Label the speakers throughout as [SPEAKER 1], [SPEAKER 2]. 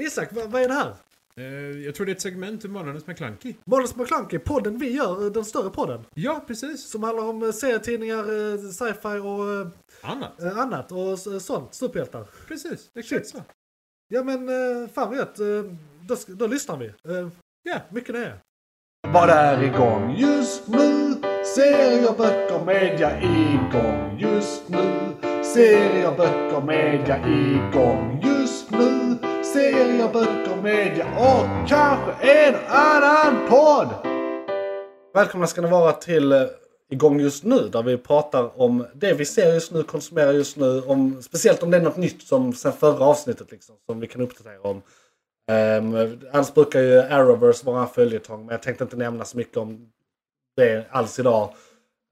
[SPEAKER 1] Isak, vad, vad är det här?
[SPEAKER 2] Eh, Jag tror det är ett segment ur Månadens McKlunky.
[SPEAKER 1] Månadens McKlunky, podden vi gör, eh, den större podden.
[SPEAKER 2] Ja, precis.
[SPEAKER 1] Som handlar om eh, serietidningar, eh, sci-fi och
[SPEAKER 2] Annat.
[SPEAKER 1] eh, annat. Och s- sånt, superhjältar.
[SPEAKER 2] Precis, exakt så.
[SPEAKER 1] Ja men eh, fan vad gött. Eh, Då, sk- då lyssnar vi. Eh, Ja, mycket nöje.
[SPEAKER 3] Vad är igång just nu? Serier, böcker, media igång just nu. Serier, böcker, media igång just nu. Serier, böcker, media och kanske en annan podd.
[SPEAKER 1] Välkomna ska ni vara till eh, Igång just nu där vi pratar om det vi ser just nu, konsumerar just nu. Om, speciellt om det är något nytt som sen förra avsnittet liksom, som vi kan uppdatera om. Um, annars brukar ju Arrowverse vara en följetong men jag tänkte inte nämna så mycket om det alls idag.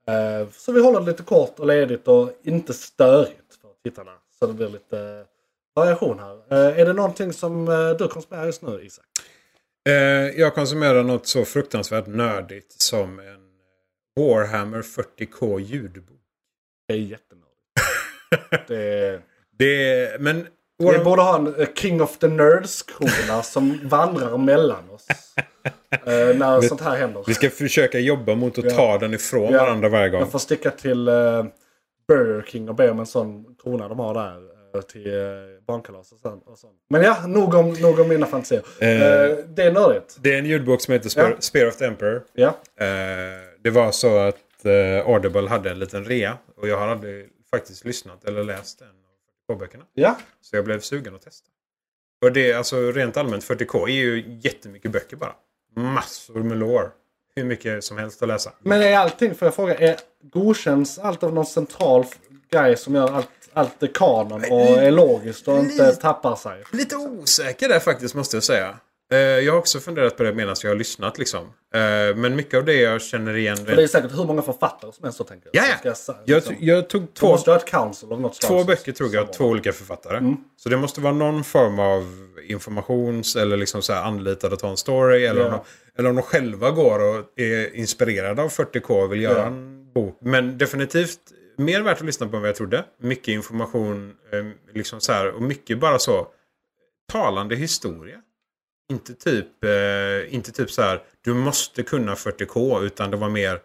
[SPEAKER 1] Eh, så vi håller det lite kort och ledigt och inte störigt för tittarna. Så det blir lite eh, variation här. Eh, är det någonting som eh, du konsumerar just nu Isak?
[SPEAKER 2] Eh, Jag konsumerar något så fruktansvärt nördigt som en Warhammer 40K ljudbok.
[SPEAKER 1] Det är jättenördigt. det är...
[SPEAKER 2] Det är, men...
[SPEAKER 1] Vi borde ha en eh, King of the Nerds-skola som vandrar mellan oss. eh, när sånt här händer.
[SPEAKER 2] Vi ska försöka jobba mot att
[SPEAKER 1] Ja.
[SPEAKER 2] ta den ifrån
[SPEAKER 1] Ja.
[SPEAKER 2] varandra varje gång.
[SPEAKER 1] Jag får sticka till eh, Burger King och be om en sån krona de har där. eh, Till eh, barnkalas och sånt. Och sånt. Men ja, nog om, nog om mina fantasier.
[SPEAKER 2] Eh.
[SPEAKER 1] Eh, det är nördigt.
[SPEAKER 2] Det är en ljudbok som heter Spear,
[SPEAKER 1] Ja.
[SPEAKER 2] Spear of the Emperor.
[SPEAKER 1] Ja.
[SPEAKER 2] Eh, det var så att eh, Audible hade en liten rea. Och jag har aldrig faktiskt lyssnat eller läst en av 40K-böckerna.
[SPEAKER 1] ja.
[SPEAKER 2] Så jag blev sugen att testa. Och det är alltså rent allmänt 40K är ju jättemycket böcker bara. Massor med lore. Hur mycket som helst att läsa.
[SPEAKER 1] Men är allting, får jag fråga, är, godkänns allt av någon central f- grej som gör allt, allt är kanon och är logiskt och inte
[SPEAKER 2] lite-
[SPEAKER 1] tappar sig?
[SPEAKER 2] Lite osäker där faktiskt måste jag säga. Eh, Jag har också funderat på det medan jag har lyssnat liksom. Eh, Men mycket av det jag känner igen
[SPEAKER 1] För det är
[SPEAKER 2] rent...
[SPEAKER 1] säkert hur många författare som helst så tänker jag. Så
[SPEAKER 2] Ja,
[SPEAKER 1] ska
[SPEAKER 2] ja.
[SPEAKER 1] jag sa-
[SPEAKER 2] Jag,
[SPEAKER 1] liksom-
[SPEAKER 2] jag tog
[SPEAKER 1] Två,
[SPEAKER 2] två,
[SPEAKER 1] måste ha ett council av något slag.
[SPEAKER 2] två
[SPEAKER 1] som-
[SPEAKER 2] böcker tror jag,
[SPEAKER 1] som-
[SPEAKER 2] två olika författare.
[SPEAKER 1] Mm.
[SPEAKER 2] Så det måste vara någon form av informations eller liksom så här anlitad att ha en story. Eller,
[SPEAKER 1] Ja.
[SPEAKER 2] om de, eller om de själva går och är inspirerade av 40K och vill göra
[SPEAKER 1] Ja.
[SPEAKER 2] en bok. Men definitivt mer värt att lyssna på än vad jag trodde. Mycket information eh, liksom så här, och mycket bara så talande historia. Inte typ, eh, inte typ så här, du måste kunna 40K, utan det var mer,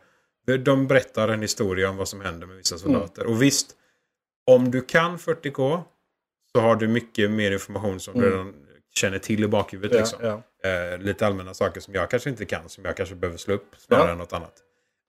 [SPEAKER 2] de berättar en historia om vad som händer med vissa soldater.
[SPEAKER 1] Mm.
[SPEAKER 2] Och visst, om du kan 40K så har du mycket mer information som du redan känner till i bakhuvudet.
[SPEAKER 1] Mm. Ja,
[SPEAKER 2] liksom.
[SPEAKER 1] ja.
[SPEAKER 2] Eh, lite allmänna saker som jag kanske inte kan, som jag kanske behöver slå upp snarare
[SPEAKER 1] Ja.
[SPEAKER 2] än något annat.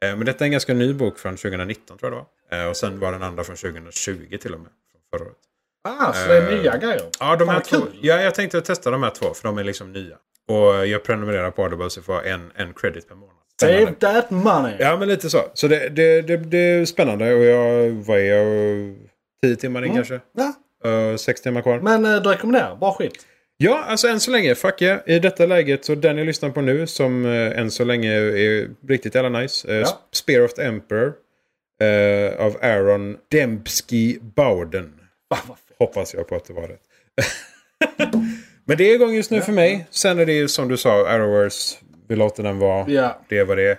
[SPEAKER 2] Eh, men detta är en ganska ny bok från 2019 tror jag det var. Eh, och sen var den andra från 2020 till och med. Från förra året.
[SPEAKER 1] Ah, så det
[SPEAKER 2] Eh,
[SPEAKER 1] är nya grejer?
[SPEAKER 2] Ja,
[SPEAKER 1] Fan,
[SPEAKER 2] de här
[SPEAKER 1] vad
[SPEAKER 2] två,
[SPEAKER 1] kul.
[SPEAKER 2] ja, jag tänkte testa de här två för de är liksom nya. Och jag prenumererar på Audible så får jag en, en credit per månad.
[SPEAKER 1] Save that money!
[SPEAKER 2] Ja, men lite så. Så det, det, det, det är spännande. Och jag, vad är jag? Tio timmar in kanske?
[SPEAKER 1] Ja,
[SPEAKER 2] Uh, sex timmar kvar.
[SPEAKER 1] Men eh, du rekommenderar, bra skit.
[SPEAKER 2] Ja, alltså än så länge, fuck yeah. I detta läget, så den jag lyssnar på nu som eh, än så länge är riktigt jävla nice. Eh,
[SPEAKER 1] Ja.
[SPEAKER 2] S- Spear of the Emperor eh, av Aaron Dembski Bowden.
[SPEAKER 1] Fan, vad fett.
[SPEAKER 2] Hoppas jag på att det var rätt. Men det är igång just nu för mig. Sen är det ju som du sa, Arrowverse. Vi låter den vara.
[SPEAKER 1] Ja,
[SPEAKER 2] Det är vad det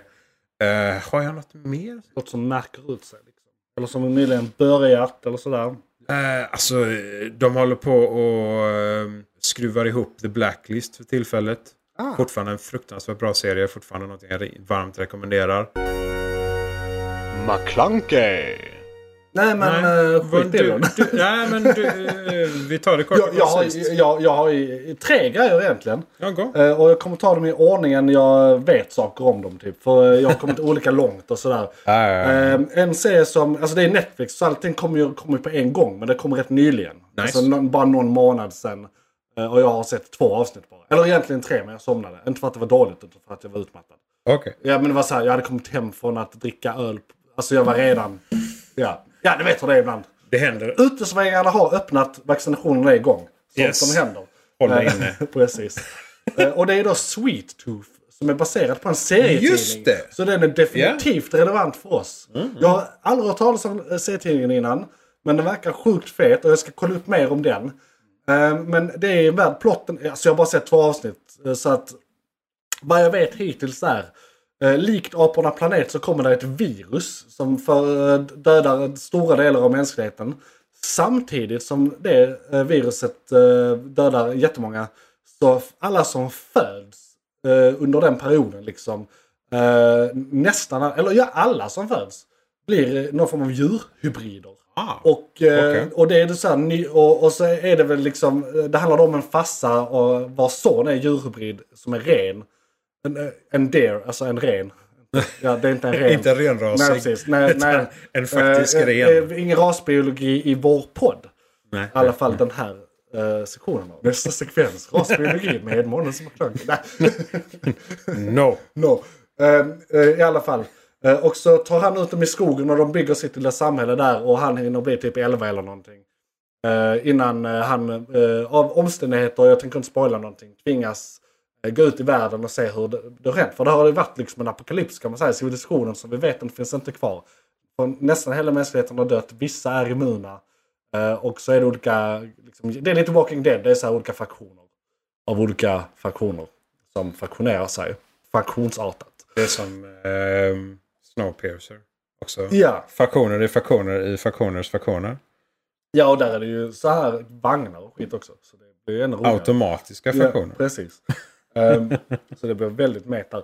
[SPEAKER 2] är. Eh, har jag något mer?
[SPEAKER 1] något som märker ut sig. Liksom. Eller som nyligen börjat eller sådär.
[SPEAKER 2] Eh, alltså, eh, de håller på och eh, skruvar ihop The Blacklist för tillfället.
[SPEAKER 1] Ah.
[SPEAKER 2] Fortfarande en fruktansvärt bra serie. Fortfarande någonting jag re- varmt rekommenderar.
[SPEAKER 3] McClunkey.
[SPEAKER 1] Nej men eh,
[SPEAKER 2] vad
[SPEAKER 1] skit i
[SPEAKER 2] du,
[SPEAKER 1] den.
[SPEAKER 2] du, nej, men du, eh, vi tar det kort
[SPEAKER 1] Jag,
[SPEAKER 2] och
[SPEAKER 1] jag, har,
[SPEAKER 2] koncist.
[SPEAKER 1] jag, jag har ju- i- tre grejer egentligen.
[SPEAKER 2] Ja, gå.
[SPEAKER 1] Eh, Och jag kommer ta dem i ordningen jag vet saker om dem. Typ. För eh, jag har kommit olika långt och sådär. Eh, en serie som, alltså det är Netflix så allting kommer ju kommer ju på en gång men det kom rätt nyligen. Alltså någon, bara någon månad sedan. Eh, och jag har sett två avsnitt bara. Eller egentligen tre men jag somnade. Inte för att det var dåligt utan för att jag var utmattad.
[SPEAKER 2] Okej.
[SPEAKER 1] Ja men det var så här, jag hade kommit hem från att dricka öl. Alltså jag var redan, ja. Ja du vet hur det är ibland.
[SPEAKER 2] Det händer.
[SPEAKER 1] Utesvängarna har öppnat, vaccinationerna är igång. Sånt
[SPEAKER 2] Yes.
[SPEAKER 1] som händer.
[SPEAKER 2] Håll dig
[SPEAKER 1] Eh,
[SPEAKER 2] inne.
[SPEAKER 1] Precis. Eh, och det är då Sweet Tooth som är baserad på en serietidning.
[SPEAKER 2] Just det. Mm.
[SPEAKER 1] Så den är definitivt relevant för oss. Jag har aldrig hört talas om eh, serietidningen innan. Men den verkar sjukt fet och jag ska kolla upp mer om den. Eh, men det är värd plotten. Alltså jag har bara sett två avsnitt. eh, så att vad jag vet hittills är eh, likt aporna planet så kommer det ett virus som för, eh, dödar stora delar av mänskligheten. Samtidigt som det eh, viruset eh, dödar jättemånga Så alla som föds eh, under den perioden liksom, eh, nästan, eller ja alla som föds, blir eh, någon form av djurhybrider.
[SPEAKER 2] Ah,
[SPEAKER 1] Och, eh,
[SPEAKER 2] Okej.
[SPEAKER 1] och det är det så här, ny, och, och så är det väl liksom, eh, det handlar om en fassa och vars son är djurhybrid som är ren. En, eh, en deer, alltså en ren. Ja, det är inte en ren.
[SPEAKER 2] Inte en renrasig,
[SPEAKER 1] Nej, precis. Nej,
[SPEAKER 2] utan
[SPEAKER 1] nej.
[SPEAKER 2] en faktisk
[SPEAKER 1] Eh, eh,
[SPEAKER 2] ren.
[SPEAKER 1] eh, Ingen rasbiologi i vår podd.
[SPEAKER 2] nej.
[SPEAKER 1] I alla fall den här eh, sektionen. av Nästa sekvens, rasbiologi med månen som McClung.
[SPEAKER 2] No.
[SPEAKER 1] No. Ehm, eh, I alla fall. Eh, och så tar han ut dem i skogen och de bygger sitt lilla samhälle där och han hinner bli typ 11 eller någonting. Eh, innan eh, han eh, av omständigheter, jag tänker inte spoila någonting, tvingas eh, gå ut i världen och se hur det, det har hänt. För det har ju varit liksom en apokalyps kan man säga. Civilisationen som vi vet den finns inte kvar. För nästan hela mänskligheten har dött, vissa är immuna. Eh, och så är det olika, liksom, det är lite Walking Dead, det är så här olika fraktioner. Av olika fraktioner som fraktionerar sig. Fraktionsartat.
[SPEAKER 2] Det är som ehm, Snowpiercer. Också.
[SPEAKER 1] Ja,
[SPEAKER 2] Faktioner i faktioner i faktioners faktioner.
[SPEAKER 1] ja och där är det ju så här vagnar och skit också. Så det blir ju ännu roligare.
[SPEAKER 2] Automatiska
[SPEAKER 1] Ja,
[SPEAKER 2] faktioner.
[SPEAKER 1] precis. Ehm, så det blir väldigt meta.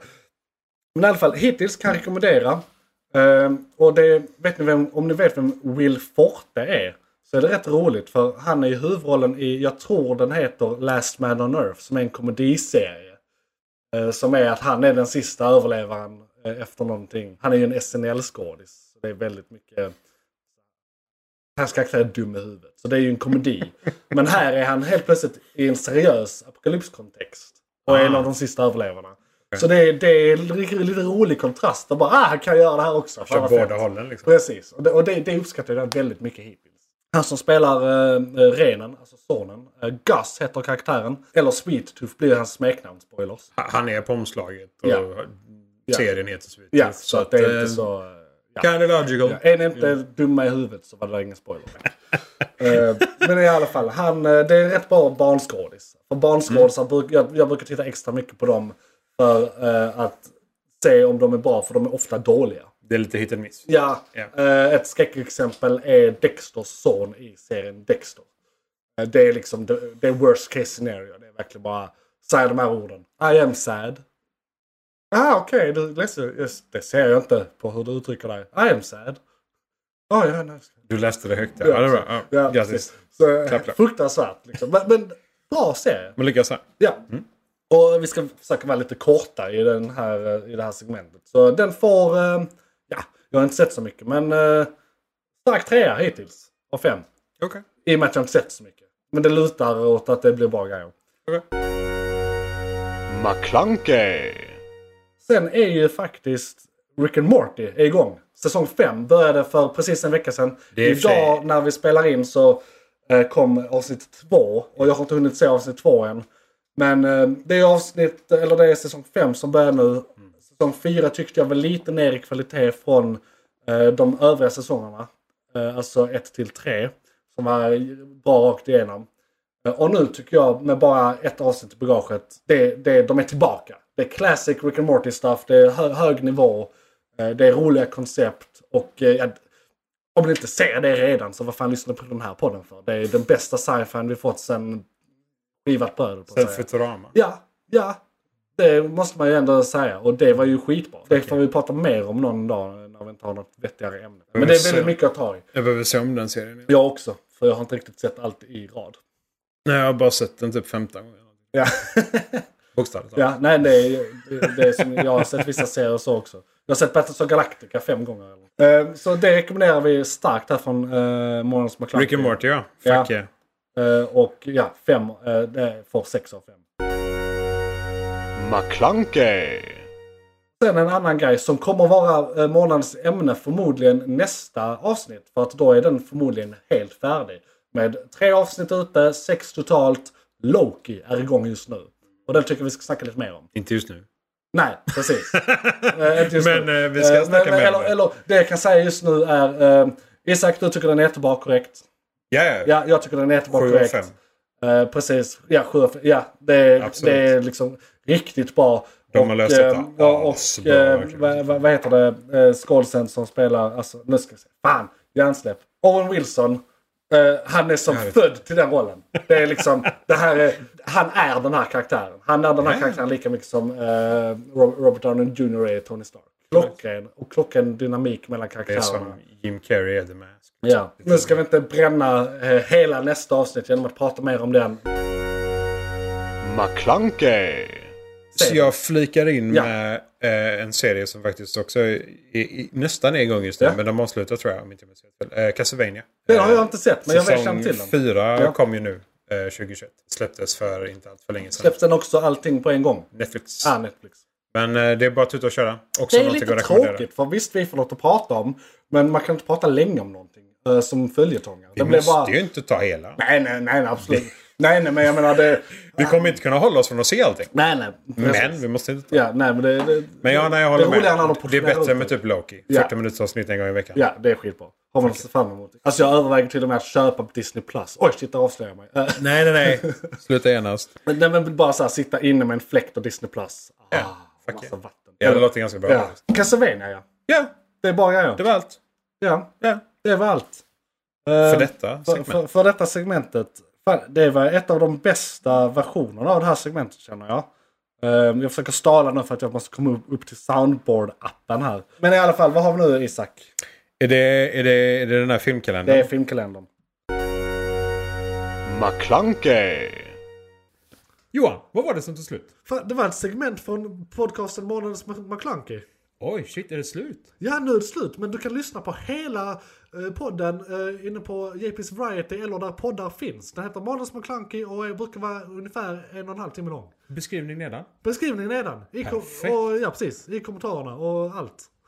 [SPEAKER 1] Men i alla fall, hittills kan jag rekommendera. Ehm, och det, vet ni vem, om ni vet vem Will Forte är så är det rätt roligt för han är ju huvudrollen i, jag tror den heter Last Man on Earth som är en komediserie. Eh, som är att han är den sista överlevaren eh, efter någonting. Han är ju en SNL-skådis. Så det är väldigt mycket... Hans karaktär är dum i huvudet. Så det är ju en komedi. Men här är han helt plötsligt i en seriös apokalypskontext. Och är en av de sista överlevarna. Så det är, det är en ri- lite rolig kontrast. Och bara, ah, han kan göra det här också. Fan,
[SPEAKER 2] Kör
[SPEAKER 1] vad
[SPEAKER 2] båda
[SPEAKER 1] fett.
[SPEAKER 2] hållen liksom.
[SPEAKER 1] Precis, och det, och det, det uppskattar jag väldigt mycket hittills. Han som spelar eh, renen, alltså sonen, eh, Gus heter karaktären. Eller Sweet Tooth blir hans smeknamn, spoilers.
[SPEAKER 2] Ha- Han är på omslaget och
[SPEAKER 1] Ja.
[SPEAKER 2] serien heter så vidare.
[SPEAKER 1] Ja, så, att det är
[SPEAKER 2] eh,
[SPEAKER 1] inte så... eh, Mm. Ja.
[SPEAKER 2] Kind of logical.
[SPEAKER 1] Ja, är ni inte dumma i huvudet så var det ingen spoiler. Eh, men i alla fall, han, eh, det är en rätt bra barnskådis. För barnskådisar, bruk, jag, jag brukar titta extra mycket på dem för eh, att se om de är bra, för de är ofta dåliga.
[SPEAKER 2] Det är lite hit and miss.
[SPEAKER 1] Ja,
[SPEAKER 2] Ja.
[SPEAKER 1] eh, ett skräckexempel är Dexters son i serien Dexter. Eh, Det är liksom det, det är worst case scenario. Det är verkligen bara säga de här orden. I am sad. Ah, okej, du är ledsen. Yes, det ser jag inte på hur du uttrycker dig. I am sad. Ah, ja, nej.
[SPEAKER 2] Du läste det högt. Ja, ja det var bra. Ja,
[SPEAKER 1] Ja,
[SPEAKER 2] grattis.
[SPEAKER 1] Så, eh,
[SPEAKER 2] Klapp, klapp.
[SPEAKER 1] fruktansvärt liksom. Men, men bra serie.
[SPEAKER 2] Men lyckas här.
[SPEAKER 1] Ja. Och vi ska försöka vara lite korta i, den här, eh, i det här segmentet. Så den får, eh, ja, jag har inte sett så mycket men eh, stark trea hittills. Av fem.
[SPEAKER 2] Okej.
[SPEAKER 1] I och med att jag inte sett så mycket. Men det lutar åt att det blir bra grejer.
[SPEAKER 2] Okej.
[SPEAKER 3] McClunkey.
[SPEAKER 1] Sen är ju faktiskt Rick and Morty är igång. Säsong 5 började för precis en vecka sedan.
[SPEAKER 2] Det är i och för sig-
[SPEAKER 1] Idag när vi spelar in så eh, kom avsnitt 2 och jag har inte hunnit se avsnitt 2 än. Men eh, det är avsnitt, eller det är säsong 5 som börjar nu. Säsong 4 tyckte jag var lite ner i kvalitet från eh, de övriga säsongerna. Eh, alltså 1 till 3. Som var bra rakt igenom. Eh, Och nu tycker jag med bara ett avsnitt i bagaget, det, det, de är tillbaka. Det är classic Rick and Morty stuff, det är hö, hög nivå, eh, det är roliga koncept och eh, ja, om ni inte ser det redan så vad fan lyssnar ni på den här podden för? Det är den bästa sci-fin vi fått sen skivat bröd. på att
[SPEAKER 2] Sen
[SPEAKER 1] säga.
[SPEAKER 2] Futurama.
[SPEAKER 1] Ja, ja. Det måste man ju ändå säga. Och det var ju skitbra. Det får vi prata mer om någon dag när vi inte har något vettigare ämne. Men det är väldigt mycket att ta i.
[SPEAKER 2] Jag behöver se om den serien.
[SPEAKER 1] Jag också, för jag har inte riktigt sett allt i rad.
[SPEAKER 2] Nej, jag har bara sett den typ 15 gånger.
[SPEAKER 1] Ja.
[SPEAKER 2] Bokstavligt talat.
[SPEAKER 1] Ja, nej det är, det är som jag har sett vissa serier så också. Jag har sett Battles of Galactica fem gånger.
[SPEAKER 2] Eh,
[SPEAKER 1] Eller. Så det rekommenderar vi starkt här från uh, Morgons McClunky.
[SPEAKER 2] Rick and Morty, ja. Fuck
[SPEAKER 1] Ja.
[SPEAKER 2] yeah.
[SPEAKER 1] Eh, och ja, fem, eh, det får sex av fem.
[SPEAKER 3] McClunkey.
[SPEAKER 1] Sen en annan grej som kommer vara eh, månadens ämne förmodligen nästa avsnitt. För att då är den förmodligen helt färdig. Med tre avsnitt ute, sex totalt. Loki är igång just nu. Och den tycker vi ska snacka lite mer om.
[SPEAKER 2] Inte just nu.
[SPEAKER 1] Nej, precis. Eh, inte just
[SPEAKER 2] Men
[SPEAKER 1] nu.
[SPEAKER 2] eh, vi ska
[SPEAKER 1] Eh,
[SPEAKER 2] snacka
[SPEAKER 1] men,
[SPEAKER 2] mer
[SPEAKER 1] eller,
[SPEAKER 2] om det.
[SPEAKER 1] eller det jag kan säga just nu är... Eh, Isak, du tycker den är jättebra korrekt.
[SPEAKER 2] Ja, ja.
[SPEAKER 1] Ja, jag tycker den är jättebra
[SPEAKER 2] Sju av
[SPEAKER 1] korrekt.
[SPEAKER 2] fem.
[SPEAKER 1] Eh, precis. Ja, sju av fem. Ja, det är,
[SPEAKER 2] Absolut.
[SPEAKER 1] det är liksom riktigt bra.
[SPEAKER 2] De har
[SPEAKER 1] Och,
[SPEAKER 2] löst detta
[SPEAKER 1] eh, Ja, och
[SPEAKER 2] asbra,
[SPEAKER 1] eh,
[SPEAKER 2] verkligen.
[SPEAKER 1] vad, vad, vad heter det? Eh, Skålsen som spelar... Alltså, nu ska vi se. Fan! Hjärnsläpp. Owen Wilson Eh, han är som
[SPEAKER 2] Jag vet.
[SPEAKER 1] född till den rollen. Det är liksom, det här är, han är den här karaktären. Han är den här karaktären lika mycket som eh, Ro- Robert Downey Jr är Tony Stark. Klockren, och klockren dynamik mellan
[SPEAKER 2] Det är
[SPEAKER 1] karaktärerna.
[SPEAKER 2] som Jim Carrey är The Mask.
[SPEAKER 1] Ja. Nu ska vi inte bränna eh, hela nästa avsnitt genom att prata mer om den.
[SPEAKER 3] McClunkey.
[SPEAKER 2] Så jag flikar in
[SPEAKER 1] Ja.
[SPEAKER 2] med eh, en serie som faktiskt också är, i, i, nästan är igång just nu.
[SPEAKER 1] Ja.
[SPEAKER 2] Men de avslutar tror jag, om inte jag minns helt fel. Eh, Castlevania.
[SPEAKER 1] Den har
[SPEAKER 2] Eh,
[SPEAKER 1] jag inte sett, men jag vet
[SPEAKER 2] Säsong
[SPEAKER 1] känna till den.
[SPEAKER 2] fyra
[SPEAKER 1] Ja.
[SPEAKER 2] kom ju nu, eh, 2021. Släpptes för inte allt för länge sedan.
[SPEAKER 1] Släpps den också allting på en gång?
[SPEAKER 2] Netflix.
[SPEAKER 1] Ah, Netflix.
[SPEAKER 2] Men eh, det är bara att tuta och köra. Också
[SPEAKER 1] Det är
[SPEAKER 2] någonting
[SPEAKER 1] lite
[SPEAKER 2] att rekommendera.
[SPEAKER 1] tråkigt, för visst vi får något att prata om, men man kan inte prata länge om någonting eh, som följetongare.
[SPEAKER 2] Vi
[SPEAKER 1] Det blir
[SPEAKER 2] måste
[SPEAKER 1] bara...
[SPEAKER 2] ju inte ta hela.
[SPEAKER 1] Nej, nej, nej, absolut. nej, nej, men jag menar det...
[SPEAKER 2] Vi kommer inte kunna hålla oss från att se allting.
[SPEAKER 1] Nej, nej.
[SPEAKER 2] Men vi måste inte ta...
[SPEAKER 1] Ja, nej, men det... det
[SPEAKER 2] Men ja, nej, jag
[SPEAKER 1] det är
[SPEAKER 2] håller
[SPEAKER 1] roligare när de
[SPEAKER 2] med. Det är
[SPEAKER 1] portionerar
[SPEAKER 2] bättre
[SPEAKER 1] ut
[SPEAKER 2] med
[SPEAKER 1] det.
[SPEAKER 2] typ Loki. 40
[SPEAKER 1] Ja.
[SPEAKER 2] minuters avsnitt en gång i veckan.
[SPEAKER 1] Ja, det är skitbra. Har man att se fram emot. Alltså jag överväger till och med att köpa på Disney+. Plus. Oj, shit, där avslöjar jag mig. Eh,
[SPEAKER 2] Nej, nej, nej. Sluta genast.
[SPEAKER 1] men, nej, men bara så här, sitta inne med en fläkt och Disney+. Plus. Ah,
[SPEAKER 2] Ja, fuck
[SPEAKER 1] massa
[SPEAKER 2] yeah.
[SPEAKER 1] vatten.
[SPEAKER 2] Ja, det låter ganska bra.
[SPEAKER 1] Ja.
[SPEAKER 2] Ja,
[SPEAKER 1] Castlevania, ja. Det är bara grejer.
[SPEAKER 2] det var allt.
[SPEAKER 1] Ja,
[SPEAKER 2] Ja.
[SPEAKER 1] det var allt.
[SPEAKER 2] För
[SPEAKER 1] Eh,
[SPEAKER 2] detta
[SPEAKER 1] För,
[SPEAKER 2] segment.
[SPEAKER 1] för, för detta segmentet. Fan, det var ett av de bästa versionerna av det här segmentet känner jag. Ehm, Jag försöker stala nu för att jag måste komma upp, upp till soundboard-appen här. Men i alla fall, vad har vi nu Isak?
[SPEAKER 2] Är, det, är, det, är det den här
[SPEAKER 1] Det
[SPEAKER 2] filmkalendern?
[SPEAKER 1] är filmkalendern.
[SPEAKER 3] McClunkey.
[SPEAKER 2] Johan, vad var det som tog slut?
[SPEAKER 1] Fan, det var ett segment från podcasten Månadens McKlunky.
[SPEAKER 2] Oj, shit, är det slut?
[SPEAKER 1] Ja, nu är det slut. Men du kan lyssna på hela eh, podden eh, inne på JP's Variety eller där poddar finns. Den heter Månadens McKlunky och är- brukar vara ungefär en och en halv timme lång.
[SPEAKER 2] Beskrivning nedan.
[SPEAKER 1] Beskrivning nedan. I kom-
[SPEAKER 2] Perfekt.
[SPEAKER 1] och, ja, precis. I kommentarerna och allt.